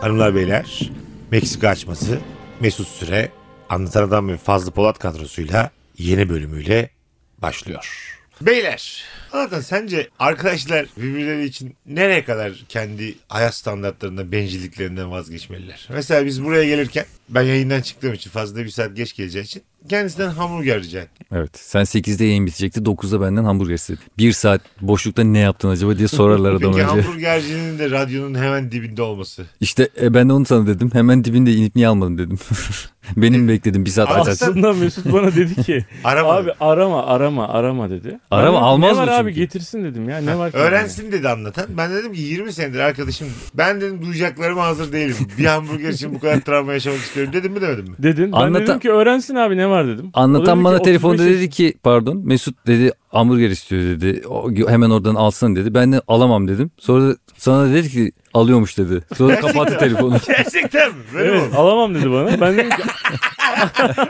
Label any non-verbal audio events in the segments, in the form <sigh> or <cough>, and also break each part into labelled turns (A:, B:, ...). A: Hanımlar beyler Meksika açması Mesut Süre Anlatan Adam ve Fazlı Polat kadrosuyla yeni bölümüyle başlıyor. Beyler Anlatan sence arkadaşlar birbirleri için nereye kadar kendi hayat standartlarından bencilliklerinden vazgeçmeliler? Mesela biz buraya gelirken ben yayından çıktığım için fazla bir saat geç geleceği için kendisinden hamburger rica ettim.
B: Evet. Sen 8'de yayın bitecekti. 9'da benden hamburger istedin. Bir saat boşlukta ne yaptın acaba diye sorarlar
A: Peki
B: adam önce.
A: hamburgercinin de radyonun hemen dibinde olması.
B: İşte e, ben de onu sana dedim. Hemen dibinde inip niye almadın dedim. <laughs> Benim bekledim bir saat
A: Alsın.
B: açarsın.
C: Aslında Mesut bana dedi ki
A: Arama.
C: abi arama arama arama dedi.
B: Arama,
C: Ben dedim,
B: almaz
C: Ne var
B: mı
C: abi
B: çünkü?"
C: getirsin dedim ya ne var ki?
A: Öğrensin dedi anlatan. Ben dedim ki 20 senedir arkadaşım ben dedim duyacaklarıma hazır değilim. Bir hamburger için bu kadar travma yaşamak istiyorum dedim mi demedim mi?
C: Dedim. Ben
B: Anlatan-
C: dedim ki öğrensin abi ne var dedim. O dedi
B: Anlatan
C: ki,
B: bana
C: 35
B: telefonda
C: yaş-
B: dedi ki pardon Mesut dedi hamburger istiyor dedi. O, hemen oradan alsın dedi. Ben de alamam dedim. Sonra da- sana da dedi ki alıyormuş dedi. Sonra kapattı telefonu. <laughs>
A: Gerçekten mi? Böyle mi
C: Evet
A: oldu?
C: alamam dedi bana. Ben dedim ki
A: <laughs>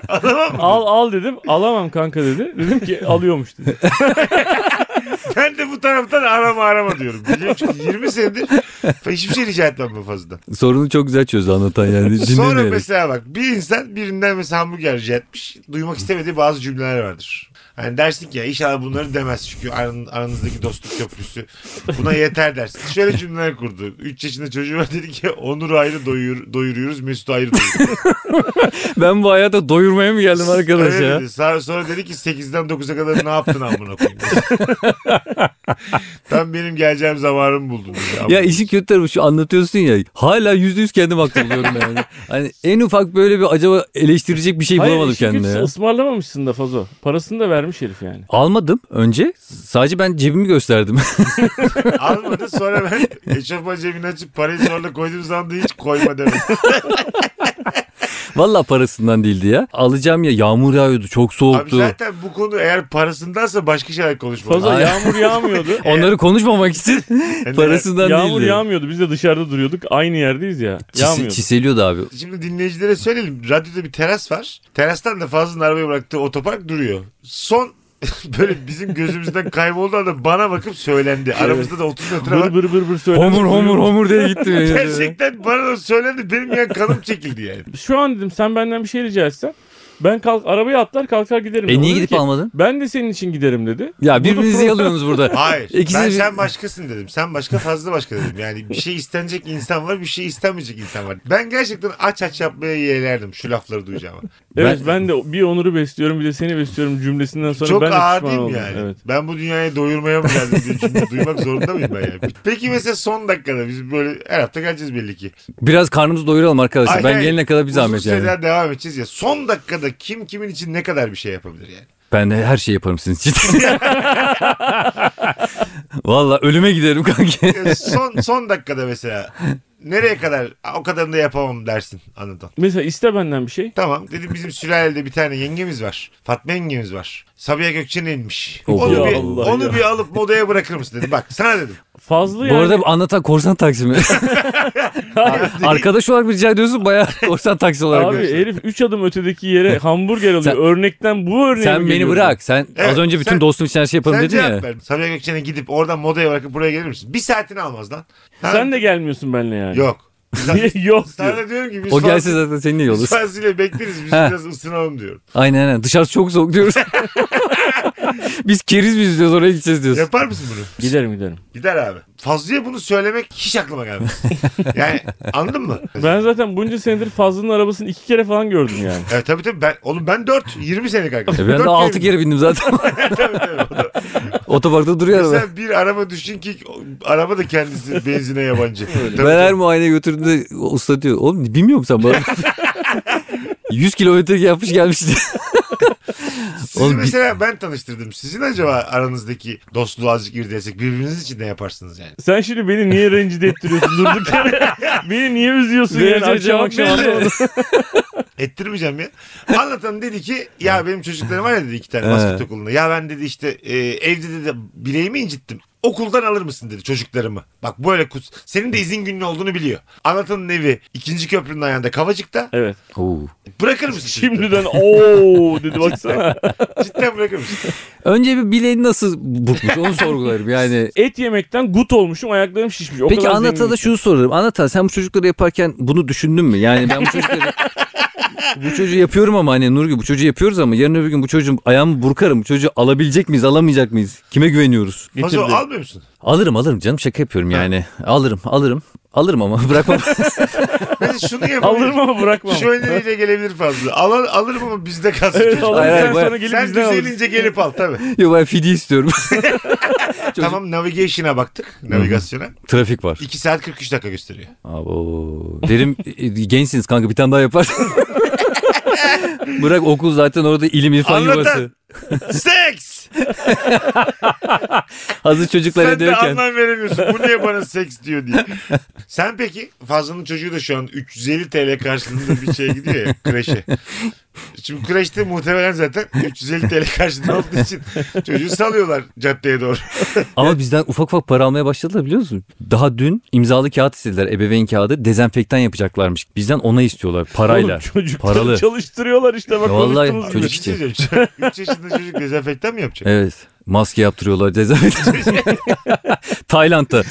A: Alamam mı?
C: al al dedim. Alamam kanka dedi. Dedim ki alıyormuş dedi.
A: Ben de bu taraftan arama arama diyorum. Biliyorum çünkü 20 senedir hiçbir şey rica etmem bu fazla.
B: Sorunu çok güzel çözdü anlatan yani.
A: Sonra
B: Dinlemeyerek.
A: mesela bak bir insan birinden mesela hamburger rica etmiş. Duymak istemediği bazı cümleler vardır. Hani dersin ki ya inşallah bunları demez çünkü aran- aranızdaki dostluk köprüsü buna yeter dersin. Şöyle cümleler kurdu. 3 yaşında çocuğu var dedi ki Onur'u ayrı doyur, doyuruyoruz Mesut'u ayrı doyuruyoruz.
B: Ben bu hayata doyurmaya mı geldim arkadaş
A: Öyle
B: ya?
A: dedi. Sonra, sonra dedi ki 8'den 9'a kadar ne yaptın amına koyayım.
B: <laughs>
A: Tam benim geleceğim zamanımı buldun. dedi.
B: Ya işin kötü tarafı şu anlatıyorsun ya hala yüzde yüz kendim haklı buluyorum yani.
A: <laughs>
B: Hani en ufak böyle bir acaba eleştirecek bir şey bulamadım
C: işin
B: kendime
C: kötüsü
B: ya.
C: ısmarlamamışsın da Fazo. Parasını da vermiş herif yani.
B: Almadım önce sadece ben cebimi gösterdim. <laughs>
A: Almadı sonra ben eşofman cebini açıp parayı zorla koyduğum zaman da hiç koyma demedim.
B: Valla parasından değildi ya. Alacağım ya yağmur yağıyordu çok
A: Abi
B: soğuktu.
A: zaten bu konu eğer parasındansa başka şeyler konuşmalı.
C: Fazo
B: Ay. <laughs>
C: yağmur yağmıyordu.
B: Onları
A: <laughs>
B: konuşmamak için
A: Yani
B: parasından
C: yağmur
B: değildi.
C: yağmıyordu. Biz de dışarıda duruyorduk. Aynı yerdeyiz ya.
B: Çis-
C: Yağmıyordu.
B: çiseliyordu abi.
A: Şimdi dinleyicilere söyleyelim. Radyoda bir teras var. Terastan da Fazlı'nın arabayı bıraktığı otopark duruyor. Son <laughs> böyle bizim gözümüzden kayboldu anda bana bakıp söylendi. Aramızda da 30 metre var.
C: Bır bır bır bır söylemiş.
B: Homur homur homur diye
A: <laughs>
B: gittim. yani.
A: Gerçekten bana da söylendi. Benim ya kanım çekildi yani.
C: Şu an dedim sen benden bir şey rica etsen ben kalk arabaya atlar kalkar giderim.
B: E
C: O
B: niye
C: dedi
B: gidip
C: ki,
B: almadın?
C: Ben de senin için giderim dedi.
B: Ya birbirinizi yalıyorsunuz burada.
A: Hayır.
B: <laughs> İkisi
A: ben
B: de-
A: sen başkasın dedim. Sen başka fazla başka dedim. Yani bir şey istenecek insan var bir şey istenmeyecek insan var. Ben gerçekten aç aç yapmaya yeğlerdim şu lafları duyacağıma.
B: <laughs>
C: Evet
B: Ben-
C: ben, de bir Onur'u besliyorum bir de seni besliyorum cümlesinden sonra
A: Çok
C: ben de
A: ağır
C: pişman
A: değil mi
C: oldum.
A: yani?
C: Evet.
A: Ben bu dünyaya doyurmaya mı geldim diye cümle duymak zorunda mıyım ben yani? Peki mesela son dakikada biz böyle her hafta geleceğiz belli ki.
B: Biraz karnımızı doyuralım arkadaşlar.
A: Ay,
B: ben
A: ay,
B: gelene kadar bir zahmet
A: Uzun
B: yani.
A: süreler devam edeceğiz ya. Son dakikada kim kimin için ne kadar bir şey yapabilir yani?
B: Ben de her şeyi yaparım sizin için. <laughs> Valla ölüme giderim kanki.
A: Ya Ee, son son dakikada mesela nereye kadar "Aa, o kadarını da yapamam dersin anladın.
C: Mesela iste benden bir şey.
A: Tamam dedim bizim sülalede bir tane yengemiz var. Fatma yengemiz var. Sabiha Gökçen inmiş.
B: Oh,
A: onu
B: ya
A: bir,
C: Allah
A: onu
C: ya.
A: bir alıp modaya bırakır mısın dedim. Bak sana dedim.
C: Fazla
B: Bu
C: yani.
B: arada anlatan
A: <laughs>
B: korsan taksimi. Arkadaş olarak rica ediyorsun bayağı korsan taksi olarak.
C: Abi
B: görüyorsun.
C: herif 3 adım
B: <laughs>
C: ötedeki yere hamburger alıyor.
B: Sen-
C: Örnekten bu örneğe mi
B: sen beni
C: geliyorsun?
B: bırak. Sen
A: Evet,
B: az önce bütün
A: sen-
B: dostum için her şey yaparım
A: Sen
B: dedin
A: cevap
B: ya.
A: ver. Sabiha Gökçen'e gidip oradan modaya bırakıp buraya gelir misin? Bir saatini almaz lan. Ha?
C: Sen de gelmiyorsun benimle
B: <laughs>
C: yani.
A: Yok.
C: Niye? Yok
A: Sana
C: diyor.
A: da diyorum ki biz
B: O gelse zaten senin iyi olur.
A: Fazlıyla bekleriz biz
B: Ha.
A: biraz ısınalım diyorum.
B: Aynen aynen. Dışarısı çok
A: <laughs>
B: soğuk diyoruz. Biz keriz biz diyoruz oraya gideceğiz diyoruz.
A: Yapar mısın bunu?
C: Giderim giderim.
A: Gider abi. Fazlıya bunu söylemek hiç aklıma
B: <laughs>
A: gelmez. yani anladın mı?
C: Ben zaten bunca senedir Fazlı'nın arabasını iki kere falan gördüm yani.
A: Evet E, tabii tabii ben oğlum ben 4 20 senelik arkadaşım.
B: E ben
A: Dört
B: de altı
A: kere-
B: kere bindim zaten.
A: <laughs> Tabii, tabii. O da-
B: Otoparkta duruyor araba.
A: Mesela bir araba düşün ki araba da kendisi benzine yabancı. Tabii,
B: Ben her muayeneye götürdüğümde usta diyor. Oğlum bilmiyor musun sen bana? <laughs> 100 kilometre yapmış gelmiş diye.
A: Sizi
B: Oğlum bir-
A: mesela ben tanıştırdım. Sizin acaba aranızdaki dostluğu azıcık irdesek birbiriniz için ne yaparsınız yani?
C: Sen şimdi beni niye rencide ettiriyorsun
B: <laughs>
C: durduk yere? beni niye üzüyorsun
B: Vereceği
C: yani akşam
B: cevap
C: akşam?
B: belli.
C: anlamadım.
A: Ettirmeyeceğim ya. Anlatan dedi ki ya benim çocuklarım var ya dedi iki tane basket
B: He.
A: okulunda. Ya ben dedi işte e, evde dedi bileğimi incittim. okuldan alır mısın dedi çocuklarımı. Bak böyle kus. Senin de izin günün olduğunu biliyor. Anlatanın evi ikinci köprünün ayağında Kavacık'ta.
C: Evet.
B: <laughs> Oo.
A: Bırakır mısın? Şimdi
C: <laughs> Şimdiden ooo dedi baksana.
A: cidden bırakır mısın?
B: Önce bir bileğini nasıl burkmuş onu sorgularım <laughs> yani.
C: <laughs> Et yemekten gut olmuşum ayaklarım şişmiş. O
B: Peki
C: kadar
B: Anlat'a da
C: zenginim.
B: şunu sorarım. Anlatan sen bu çocukları yaparken bunu düşündün mü? Yani ben bu <laughs> çocukları... bu çocuğu yapıyorum ama hani Nurgül bu çocuğu yapıyoruz ama yarın öbür gün bu çocuğun ayağımı burkarım. Bu çocuğu alabilecek miyiz alamayacak mıyız? Kime güveniyoruz?
A: Fazla
C: Getirdi.
A: almıyor musun?
B: Alırım alırım canım şaka yapıyorum yani. Alırım alırım. Alırım ama <laughs> bırakmam.
A: Mesela şunu yapabilir.
C: <laughs> Alırım ama bırakmam.
A: Şu öneriyle gelebilir fazla. Alır, alırım ama bizde kalsın.
C: Evet alırım
B: Hayır,
C: sen
B: hayır,
C: sonra
B: bu-
C: gelip
A: Sen
C: bizden alırsın.
A: düzelince gelip al
C: <laughs>
A: tabii.
B: Yok ben fidi istiyorum. Çocuk-
A: Tamam navigation'a baktık. Navigasyona.
B: Trafik var.
A: 2 saat 43 dakika gösteriyor.
B: Abo. Derim e, gençsiniz kanka bir tane daha yapar. Bırak okul zaten orada ilim irfan
A: Anlatan.
B: yuvası.
A: <laughs>
C: <laughs>
A: Seks!
B: Hazır çocuklara
A: Sen de
B: diyorken.
A: anlam veremiyorsun. Bu niye
C: <laughs>
A: bana seks diyor diye. Sen peki Fazlı'nın çocuğu da şu an 350 TL karşılığında bir şeye gidiyor ya kreşe. Şimdi kreşte muhtemelen zaten 350 TL karşılığında olduğu için çocuğu salıyorlar caddeye doğru.
B: Ama bizden ufak ufak para almaya başladılar biliyor musun? Daha dün imzalı kağıt istediler ebeveyn kağıdı dezenfektan yapacaklarmış. Bizden ona istiyorlar parayla.
C: Oğlum çocukları
B: Paralı.
C: <laughs> çalıştırıyorlar işte bak
B: Vallahi
C: konuştuğumuz gibi.
B: Çocuk
A: Bir
B: işte.
A: şey söyleyeceğim. 3 yaşında çocuk <laughs> dezenfektan mı
C: <laughs>
A: yapacak?
B: Evet. Maske yaptırıyorlar dezenfektan. Tayland'da.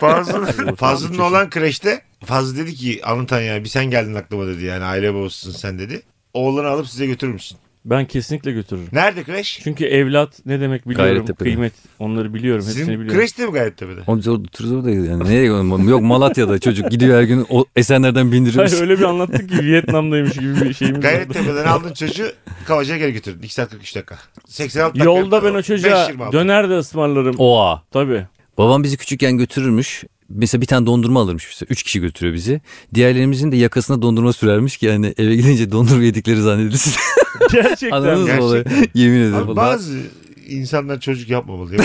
A: Fazlı'nın Fazlı'nın olan kreşte Fazlı dedi ki anlatan ya bir sen geldin aklıma dedi yani aile babasısın sen dedi. Oğlanı alıp size götürür müsün?
C: Ben kesinlikle götürürüm.
A: Nerede kreş?
C: Çünkü evlat ne demek biliyorum.
B: Gayrettepe'de.
C: Kıymet onları biliyorum. Hepsini
A: Sizin
C: biliyorum.
A: kreş de mi Gayrettepe'de?
B: Oğlum biz orada otururuz orada yani. Nereye gidiyorum? Yok Malatya'da çocuk gidiyor her gün o Esenler'den bindiriyoruz.
C: Hayır öyle bir anlattık ki Vietnam'daymış gibi bir şeyimiz var.
A: Gayrettepe'den aldın çocuğu Kavacı'ya geri götürdün. 2 saat 43 dakika. 86 dakika.
C: <laughs> Yolda ben o çocuğa
A: 5.26.
C: döner de ısmarlarım.
B: Oha. <laughs>
C: Tabii.
B: Babam bizi küçükken götürürmüş. Mesela bir tane dondurma alırmış mesela. Üç kişi götürüyor bizi. Diğerlerimizin de yakasına dondurma sürermiş ki yani eve gidince dondurma yedikleri zannedilsin.
C: Gerçekten.
B: Anladınız
C: mi?
B: mı olayı? Yemin ederim.
A: Abi bazı insanlar çocuk yapmamalı. ya.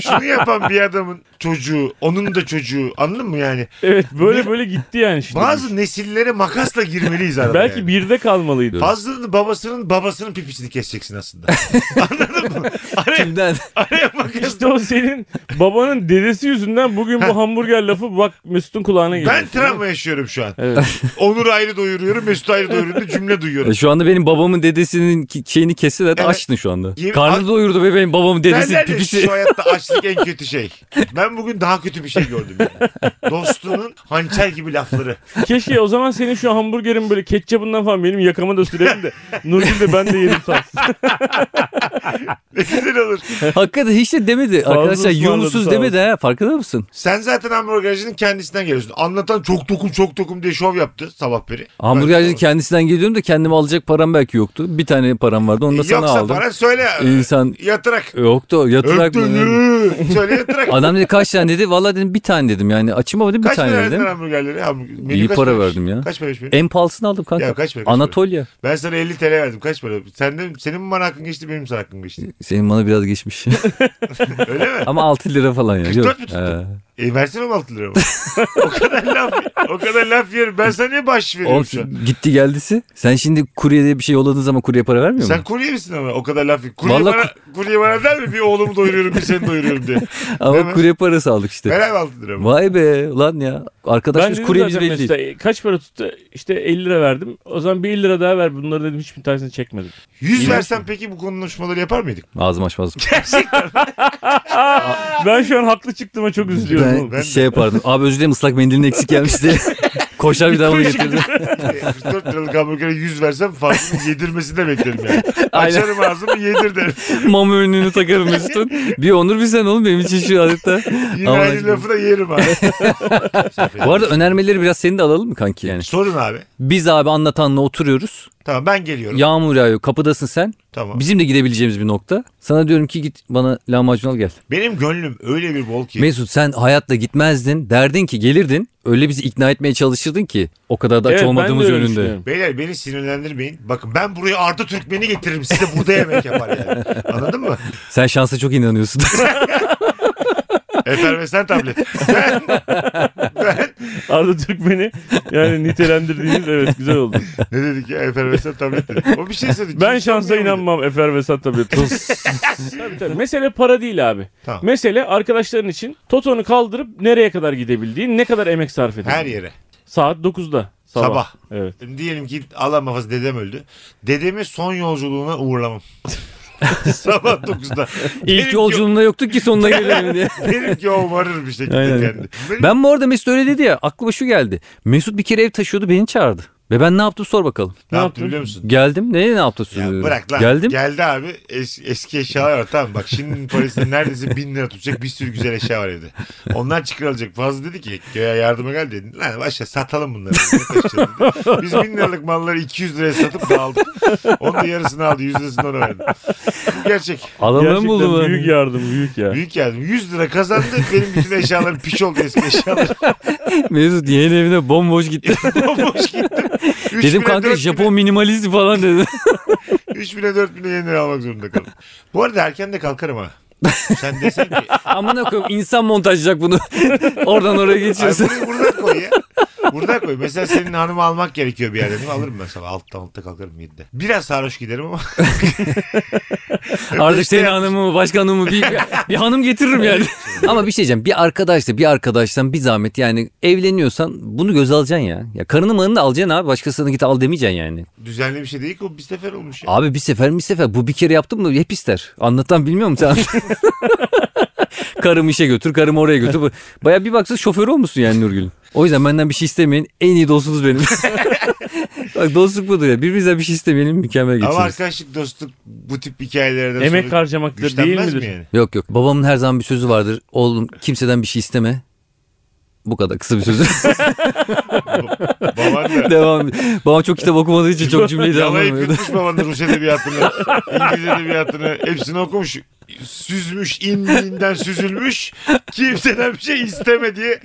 A: Şunu yapan bir adamın çocuğu, onun da çocuğu anladın mı yani?
C: Evet böyle böyle gitti yani şimdi.
A: Bazı nesillere makasla girmeliyiz arada.
C: Belki
A: yani.
C: birde kalmalıydı.
A: Fazlının babasının babasının pipisini keseceksin
B: <laughs>
A: aslında. Anladın mı? Araya,
B: Kimden?
A: araya makas.
C: İşte o senin babanın dedesi yüzünden bugün bu hamburger lafı bak Mesut'un kulağına geliyor.
A: Ben travma yaşıyorum şu an.
C: Evet.
A: Onur ayrı doyuruyorum, Mesut ayrı doyuruyorum cümle
B: <laughs>
A: duyuyorum.
B: E şu anda benim babamın dedesinin ki- şeyini kestiler de
A: Evet.
B: açtın şu anda.
A: Yemin-
B: Karnını doyurdu be benim babamın dedesinin
A: Derler ya
B: Şey pipisi.
A: şu hayatta açlık en kötü şey. Ben bugün daha kötü bir şey gördüm. Yani. Dostluğunun hançer gibi lafları. <laughs>
C: Keşke o zaman senin şu hamburgerin böyle ketçabından falan benim yakama da sürelim de Nurgül de ben de yerim
B: <laughs>
C: sansın.
A: Ne güzel olur.
B: Hakikaten hiç de demedi.
C: Fazla
B: Arkadaşlar
C: ısmarladı
B: yumsuz
C: sağ
B: demedi ha. Farkında mısın?
A: Sen zaten hamburgercinin kendisinden geliyorsun. Anlatan çok tokum çok tokum diye şov yaptı sabah beri.
B: Hamburgerci kendisinden geliyorum da kendime alacak param belki yoktu. Bir tane param vardı onu da sana
A: Yoksa
B: aldım.
A: para söyle.
B: İnsan
A: Yatırak.
B: yoktu yatırak mı?
A: Öptün. Söyle yatırak.
B: Adam dedi kaç tane dedi. Valla dedim bir tane dedim. Yani açım ama dedim bir
A: Kaç
B: tane
A: para verdin
B: dedim.
A: hamburgerleri? Hamburger- menü
B: İyi
A: kaç
B: para
A: paraymış?
B: verdim ya.
A: Kaç paraymış menü?
B: En pahalısını aldım kanka.
A: Ya kaç para? kaç para?
B: Anatolia.
A: Ben sana 50 TL verdim. Kaç para? Sen de, senin mi bana hakkın geçti benim mi sana hakkın geçti?
B: Senin bana
A: <laughs>
B: biraz geçmiş.
A: Öyle mi?
B: ama 6 lira falan ya.
A: 44
B: Yok. Ee,
A: mü tuttu? E versene mi 6
B: <laughs>
A: lira? o kadar laf, o kadar laf yerim. Ben sana niye baş
B: Ee, oğlum
A: veriyorum şu an?
B: gitti geldisi. Sen şimdi kurye diye bir şey yolladığın zaman kurye para vermiyor <laughs>
A: Sen
B: mu?
A: kurye misin ama o kadar laf yiyorum. Kurye,
B: Vallahi
A: bana, kurye bana der mi bir oğlumu doyuruyorum bir seni doyuruyorum
B: <laughs>
A: diye.
B: Ama
A: Vermez.
B: kurye parası aldık işte.
A: Ver abi 6 lira.
B: Vay be lan ya.
C: Ben
B: Arkadaşımız
C: dedim
B: kurye biz
C: zaten
B: belli değil.
C: mesela, kaç para tuttu? İşte 50 lira verdim. O zaman bir 50 lira daha ver. Bunları dedim hiçbir tanesini çekmedim.
A: 100
C: İyi.
A: versen peki bu konuşmaları yapar mıydık?
B: Ağzım açmaz.
C: Ben şu an haklı çıktığıma çok üzülüyorum. oğlum.
B: ben,
A: ben de.
B: şey yapardım. Abi özür dilerim ıslak mendilin eksik
A: <laughs>
B: gelmiş diye. Koşar bir daha bunu getirdim.
C: <laughs>
A: 44 E, liralık hamburgere 100 versem fazla yedirmesini de beklerim yani.
B: <laughs> Aynen.
A: Açarım ağzımı yedir derim.
B: Mama önlüğünü takarım Mesut'un. Bir Onur bir sen oğlum benim için şu adeta.
A: Yine
B: Ama-
A: aynı lafı da yerim
B: <laughs>
A: abi.
B: Bu arada önermeleri biraz seni de alalım mı kanki yani?
A: Sorun abi.
B: Biz abi anlatanla oturuyoruz.
A: Tamam ben geliyorum.
B: Yağmur yağıyor. Kapıdasın sen.
A: Tamam.
B: Bizim de gidebileceğimiz bir nokta. Sana diyorum ki git bana lahmacun al gel.
A: Benim gönlüm öyle bir bol ki.
B: Mesut sen hayatta gitmezdin. Derdin ki gelirdin. Öyle bizi ikna etmeye çalışırdın ki. O kadar da aç
C: Evet, ben de
B: olmadığımız
C: öyle
B: yönünde.
C: düşünüyorum.
A: Beyler beni sinirlendirmeyin. Bakın ben buraya Arda Türkmen'i getiririm. Size burada yemek yapar yani. Anladın mı?
C: <laughs>
B: Sen şansa çok inanıyorsun.
A: Efervesen tablet.
C: Arda Türkmen'i yani nitelendirdiğiniz evet güzel oldu.
A: Ne dedik ya? Efervesen tablet dedik. O bir şey söyledi.
C: Ben
A: Kim
C: şansa
A: sanmıyor muydu?
C: inanmam Efer Vesat tabii. tabii tabii. Mesele para değil abi.
A: Tamam.
C: Mesele arkadaşların için Toto'nu kaldırıp nereye kadar gidebildiğin, ne kadar emek sarf ettiğin.
A: Her yere.
C: Saat 9'da. Sabah.
A: Sabah.
C: Evet.
A: Diyelim ki Allah muhafaza dedem öldü. Dedemi son yolculuğuna uğurlamam. <laughs> Sabah 9'da.
B: İlk
A: Benimki-
B: yolculuğunda yoktuk ki sonuna gelelim
C: <laughs>
B: diye.
A: Benimki o varır bir şekilde
B: Aynen.
A: kendi. Benim-
B: Ben bu arada Mesut öyle dedi ya aklıma şu geldi. Mesut bir kere ev taşıyordu beni çağırdı. Ve ben ne yaptım sor bakalım.
A: ne yaptım
C: Ne yaptın?
A: biliyor musun?
B: Geldim ne ne yaptın soruyorum.
A: Ya bırak lan.
B: Ee, Geldim.
A: Geldi abi es- eski eşyalar var tamam bak şimdi Paris'te neredeyse bin lira tutacak bir sürü güzel eşya var evde. Onlar çıkarılacak. Fazla dedi ki köye yardıma gel dedi. Lan başla satalım bunları. Ne taşıyalım dedi. Biz bin liralık malları 200 liraya satıp da aldık. Onun da yarısını aldı yüz lirasını ona verdi. Bu gerçek.
B: Alanlarını
C: Gerçekten
B: buldum. ben.
C: büyük yardım büyük ya.
A: Büyük yardım. 100 lira kazandı. Benim bütün eşyalarım piç oldu eski eşyalar.
B: <laughs>
A: <laughs>
B: Mesut yeni evine bomboş gitti.
A: Bomboş gittim. Üç bine,
B: Dedim
A: dört
B: kanka
A: bine-
B: Japon minimalist falan <laughs> dedi.
A: 3 bine 4 bine yeni almak zorunda kaldım. Bu arada erken de kalkarım ha. Sen desen ki
B: Amına koyayım insan montajlayacak bunu. <laughs> Oradan oraya
A: Ay
B: geçiyorsun.
A: bunu buradan koy ya. Buradan koy. Mesela senin hanımı almak gerekiyor bir yerden. değil mi? Alırım ben sabah. Altta altta kalkarım yedide. Biraz sarhoş giderim ama. <laughs>
B: Artık senin hanımı başka hanımı bir, bir hanım getiririm yani. <laughs> Ama bir şey diyeceğim. Bir arkadaşla bir arkadaştan bir zahmet yani evleniyorsan bunu göz alacaksın ya. Ya karını marını da alacaksın abi başkasına git al demeyeceksin yani.
A: Düzenli bir şey değil ki o bir sefer olmuş ya.
B: Abi bir sefer bir sefer bu bir kere yaptın mı hep ister. Anlatan bilmiyor musun sen? karım işe götür karım oraya götür. Baya bir baksın şoför olmuşsun yani Nurgül. O yüzden benden bir şey istemeyin. En iyi dostunuz benim. Bak dostluk budur ya. Birbirimizden bir şey istemeyelim mükemmel
A: Ama
B: geçiriz.
A: arkadaşlık, dostluk bu tip hikayelerden
C: Emek
A: sonra
C: harcamaktır değil
A: güçlenmez
C: midir?
A: mi yani?
B: Yok yok. Babamın her zaman bir sözü vardır. Oğlum kimseden bir şey isteme. Bu kadar kısa bir sözü. <laughs>
A: Baban
C: <laughs>
A: da
B: Devam. Babam çok kitap okumadığı için
A: <laughs>
B: çok cümleyi de
A: yalayıp
B: <laughs> anlamıyordu.
A: yutmuş baban da Rus edebiyatını, İngiliz edebiyatını hepsini okumuş. Süzmüş, inliğinden süzülmüş. Kimseden bir şey isteme diye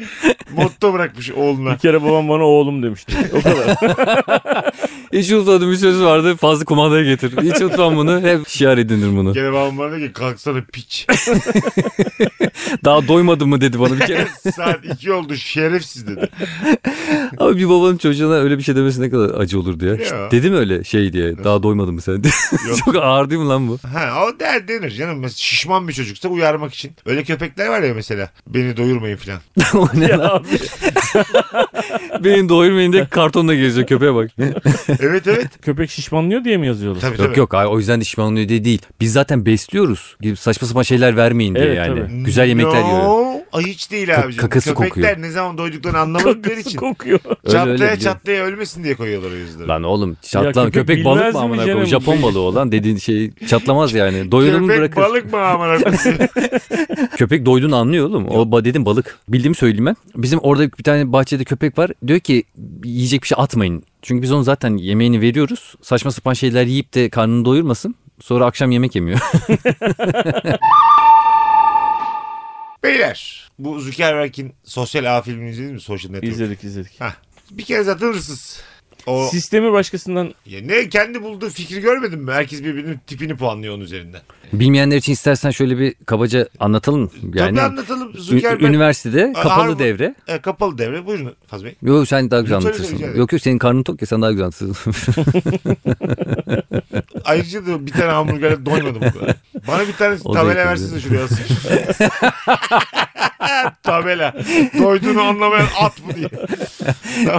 A: motto bırakmış oğluna.
C: <laughs> Bir kere babam bana oğlum demişti. O kadar. <laughs>
B: Hiç unutmadığım bir sözü vardı. Fazla kumandaya getir. Hiç unutmam bunu. Hep şiar edinir bunu.
A: Gene babam bana diyor ki kalksana piç.
B: Daha doymadın mı dedi bana bir kere.
A: Saat 2 oldu şerefsiz dedi.
B: Ama bir babanın çocuğuna öyle bir şey demesi ne kadar acı olurdu ya. Hiç
A: Ya.
B: Dedim öyle şey diye. Daha doymadın mı sen? diye.
A: Yok.
B: <laughs> çok ağır değil mi lan bu?
A: Ha, o der denir canım. Mesela şişman bir çocuksa uyarmak için. Öyle köpekler var ya mesela. Beni doyurmayın filan.
B: o ne
C: Ya
B: lan?
C: abi,
B: Beni doyurmayın diye kartonla geziyor köpeğe bak.
A: Evet evet.
C: köpek şişmanlıyor diye mi yazıyorlar?
A: Tabii tabii.
B: Yok yok hayır, o yüzden de şişmanlığı diye değil. Biz zaten besliyoruz. Gibi Saçma sapan şeyler vermeyin diye
C: Evet,
B: yani. <laughs>
C: tabii.
B: Güzel yemekler
A: no.
B: yiyor.
A: Ay hiç değil
B: Ka-
A: abicim.
B: kakası
A: Köpekler
B: kokuyor.
A: ne zaman doyduklarını anlamadıkları
C: Kakası
A: için.
C: kokuyor.
B: Öyle öyle
A: çatlaya
B: biliyorum.
A: çatlaya ölmesin diye koyuyorlar o yüzden.
B: Lan oğlum çatlan
C: köpek
B: köpek, balık
C: bilmez
B: mı
C: mi
B: amına
C: canım?
B: koyayım? Japon balığı olan dediğin şey çatlamaz yani. Doyurur mu
A: Köpek
B: bırakır?
A: balık mı amına
B: <laughs>
A: koyayım?
B: Köpek doyduğunu anlıyor oğlum. O ba- dedim balık. Bildiğimi söyleyeyim ben. Bizim orada bir tane bahçede köpek var. Diyor ki yiyecek bir şey atmayın. Çünkü biz onu zaten yemeğini veriyoruz. Saçma sapan şeyler yiyip de karnını doyurmasın. Sonra akşam yemek yemiyor. <laughs>
A: Beyler bu Zuckerberg'in sosyal ağ filmini izlediniz mi? Social Network.
C: izledik izledik.
A: Hah. Bir kere zaten hırsız. O
C: Sistemi başkasından
A: ya ne kendi bulduğu fikri görmedin mi? Herkes birbirinin tipini puanlıyor onun üzerinden.
B: Bilmeyenler için istersen şöyle bir kabaca anlatalım. Yani
A: Tabii anlatalım
B: ü-
A: Zuckerberg.
B: üniversitede
A: Aa,
B: kapalı
A: Harvard-
B: devre.
A: E, kapalı devre. Buyurun Fazıl Bey.
B: Yok sen daha güzel
A: Lütfen rica
B: anlatırsın.
A: ederim.
B: Yok yok senin karnın tok ya sen daha güzel anlatırsın. <laughs>
A: Ayrıca da bir tane hamburgere doymadım bu kadar. Bana bir tane
B: <laughs> O da
A: tabela
B: yakın
A: versin de şuraya asayım. <laughs> tabela. Doyduğunu anlamayan at bu diye.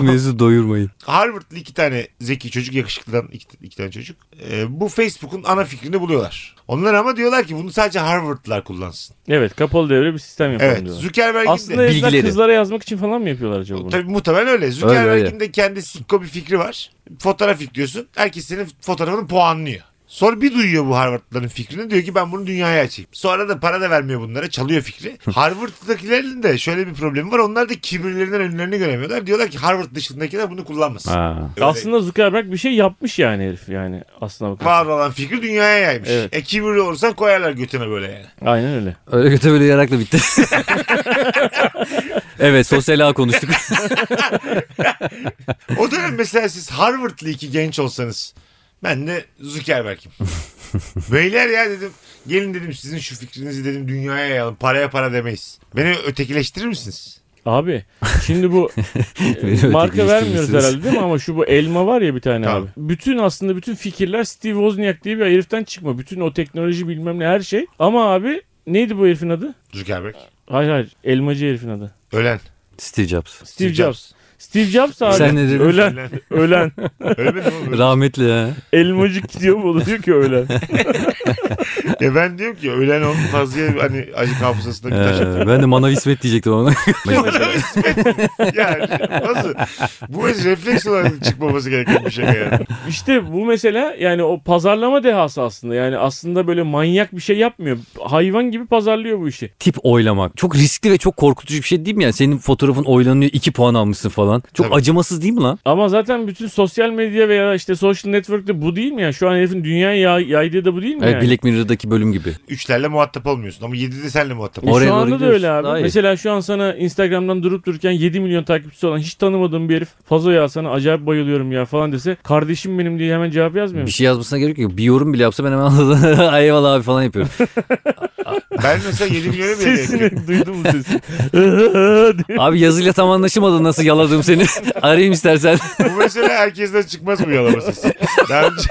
B: Mesut doyurmayın.
A: Harvard'lı iki tane zeki çocuk, yakışıklıdan iki, iki tane çocuk. E, bu Facebook'un ana fikrini buluyorlar. Onlar ama diyorlar ki bunu sadece Harvard'lılar kullansın.
C: evet kapalı devre bir sistem yapalım
A: Evet.
C: diyorlar.
A: Zuckerberg'in
C: Aslında
A: de...
B: Bilgileri.
C: yazılar kızlara yazmak için falan mı yapıyorlar acaba bunu?
A: Tabii muhtemelen öyle.
B: Öyle,
A: Zuckerberg'in
B: öyle.
A: de kendi sikko bir fikri var. Fotoğraf yüklüyorsun. Herkes senin fotoğrafını puanlıyor. Sonra bir duyuyor bu Harvard'ların fikrini. Diyor ki ben bunu dünyaya açayım. Sonra da para da vermiyor bunlara. Çalıyor fikri. Harvard'dakilerin de şöyle bir problemi var. Onlar da kibirlerinden önlerini göremiyorlar. Diyorlar ki Harvard dışındakiler bunu kullanmasın.
B: Aa.
A: Öyle.
C: Aslında Zuckerberg bir şey yapmış yani herif yani aslında
A: Var
C: bakarsan.
A: olan fikri dünyaya yaymış.
C: Evet.
A: E kibirli olursan koyarlar götüne böyle yani.
C: Aynen öyle.
B: Öyle kötü böyle yarakla bitti. evet sosyal ağ konuştuk.
A: O dönem mesela siz Harvard'lı iki genç olsanız ben de Zuckerberg'im. Beyler ya dedim gelin dedim sizin şu fikrinizi dedim dünyaya yayalım paraya para demeyiz. Beni ötekileştirir misiniz?
C: Abi
B: <laughs>
C: şimdi bu e,
B: Beni
C: marka vermiyoruz
B: ötekileştirirsiniz.
C: herhalde değil mi ama şu bu elma var ya bir tane
A: Tabii.
C: abi. Bütün aslında bütün fikirler Steve Wozniak diye bir heriften çıkma. Bütün o teknoloji bilmem ne her şey. Ama abi neydi bu herifin adı?
A: Zuckerberg.
C: Hayır hayır elmacı herifin adı.
A: Ölen.
B: Steve Jobs.
C: Steve Jobs. Steve Jobs abi.
B: Sen ne dedin?
C: Ölen.
A: Ölen.
C: <laughs> Ölen.
A: Ölmedi mi oğlum?
B: Rahmetli ya.
C: Elmacık diyor mu oluyor
B: <laughs>
C: ki ölen?
A: Ya ben diyorum ki ölen onun fazla hani acı hafızasında bir taş
B: Ee, ben de Manav İsmet diyecektim ona.
A: yani nasıl? Bu mesela refleks olarak çıkmaması gereken bir şey yani.
C: İşte bu mesela yani o pazarlama dehası aslında. Yani aslında böyle manyak bir şey yapmıyor. Hayvan gibi pazarlıyor bu işi.
B: <laughs> Tip oylamak. Çok riskli ve çok korkutucu bir şey değil mi? Yani senin fotoğrafın oylanıyor 2 puan almışsın falan. Çok
A: Tabii.
B: acımasız değil mi lan?
C: Ama zaten bütün sosyal medya veya işte social network'te bu değil mi ya? Şu an herifin dünyaya yay- yaydığı da bu değil mi
B: Evet
C: yani?
B: Black Mirror'daki bölüm gibi.
A: Üçlerle muhatap olmuyorsun ama yedide senle muhatap
C: E
A: ol.
B: Oraya
C: şu
B: doğru
C: anda da
B: gidiyoruz.
C: öyle abi.
B: Daha iyi.
C: Mesela şu an sana Instagram'dan durup dururken 7 milyon takipçisi olan hiç tanımadığım bir herif Fazo ya sana acayip bayılıyorum ya falan dese kardeşim benim diye hemen cevap yazmıyor
B: Bir <laughs>
C: musun?
B: şey yazmasına gerek yok. Bir yorum bile yapsa ben hemen anladım. <laughs> Eyvallah abi
A: <laughs>
B: falan yapıyorum.
A: Ben mesela 7 milyona bile yakın.
C: Sesini duydun mu sesini? diye.
B: Abi yazıyla tam anlaşılmadı nasıl
A: <laughs>
B: yaladım seni. Arayayım istersen.
A: Bu mesela herkesten çıkmaz bu yalama sesi. Daha önce,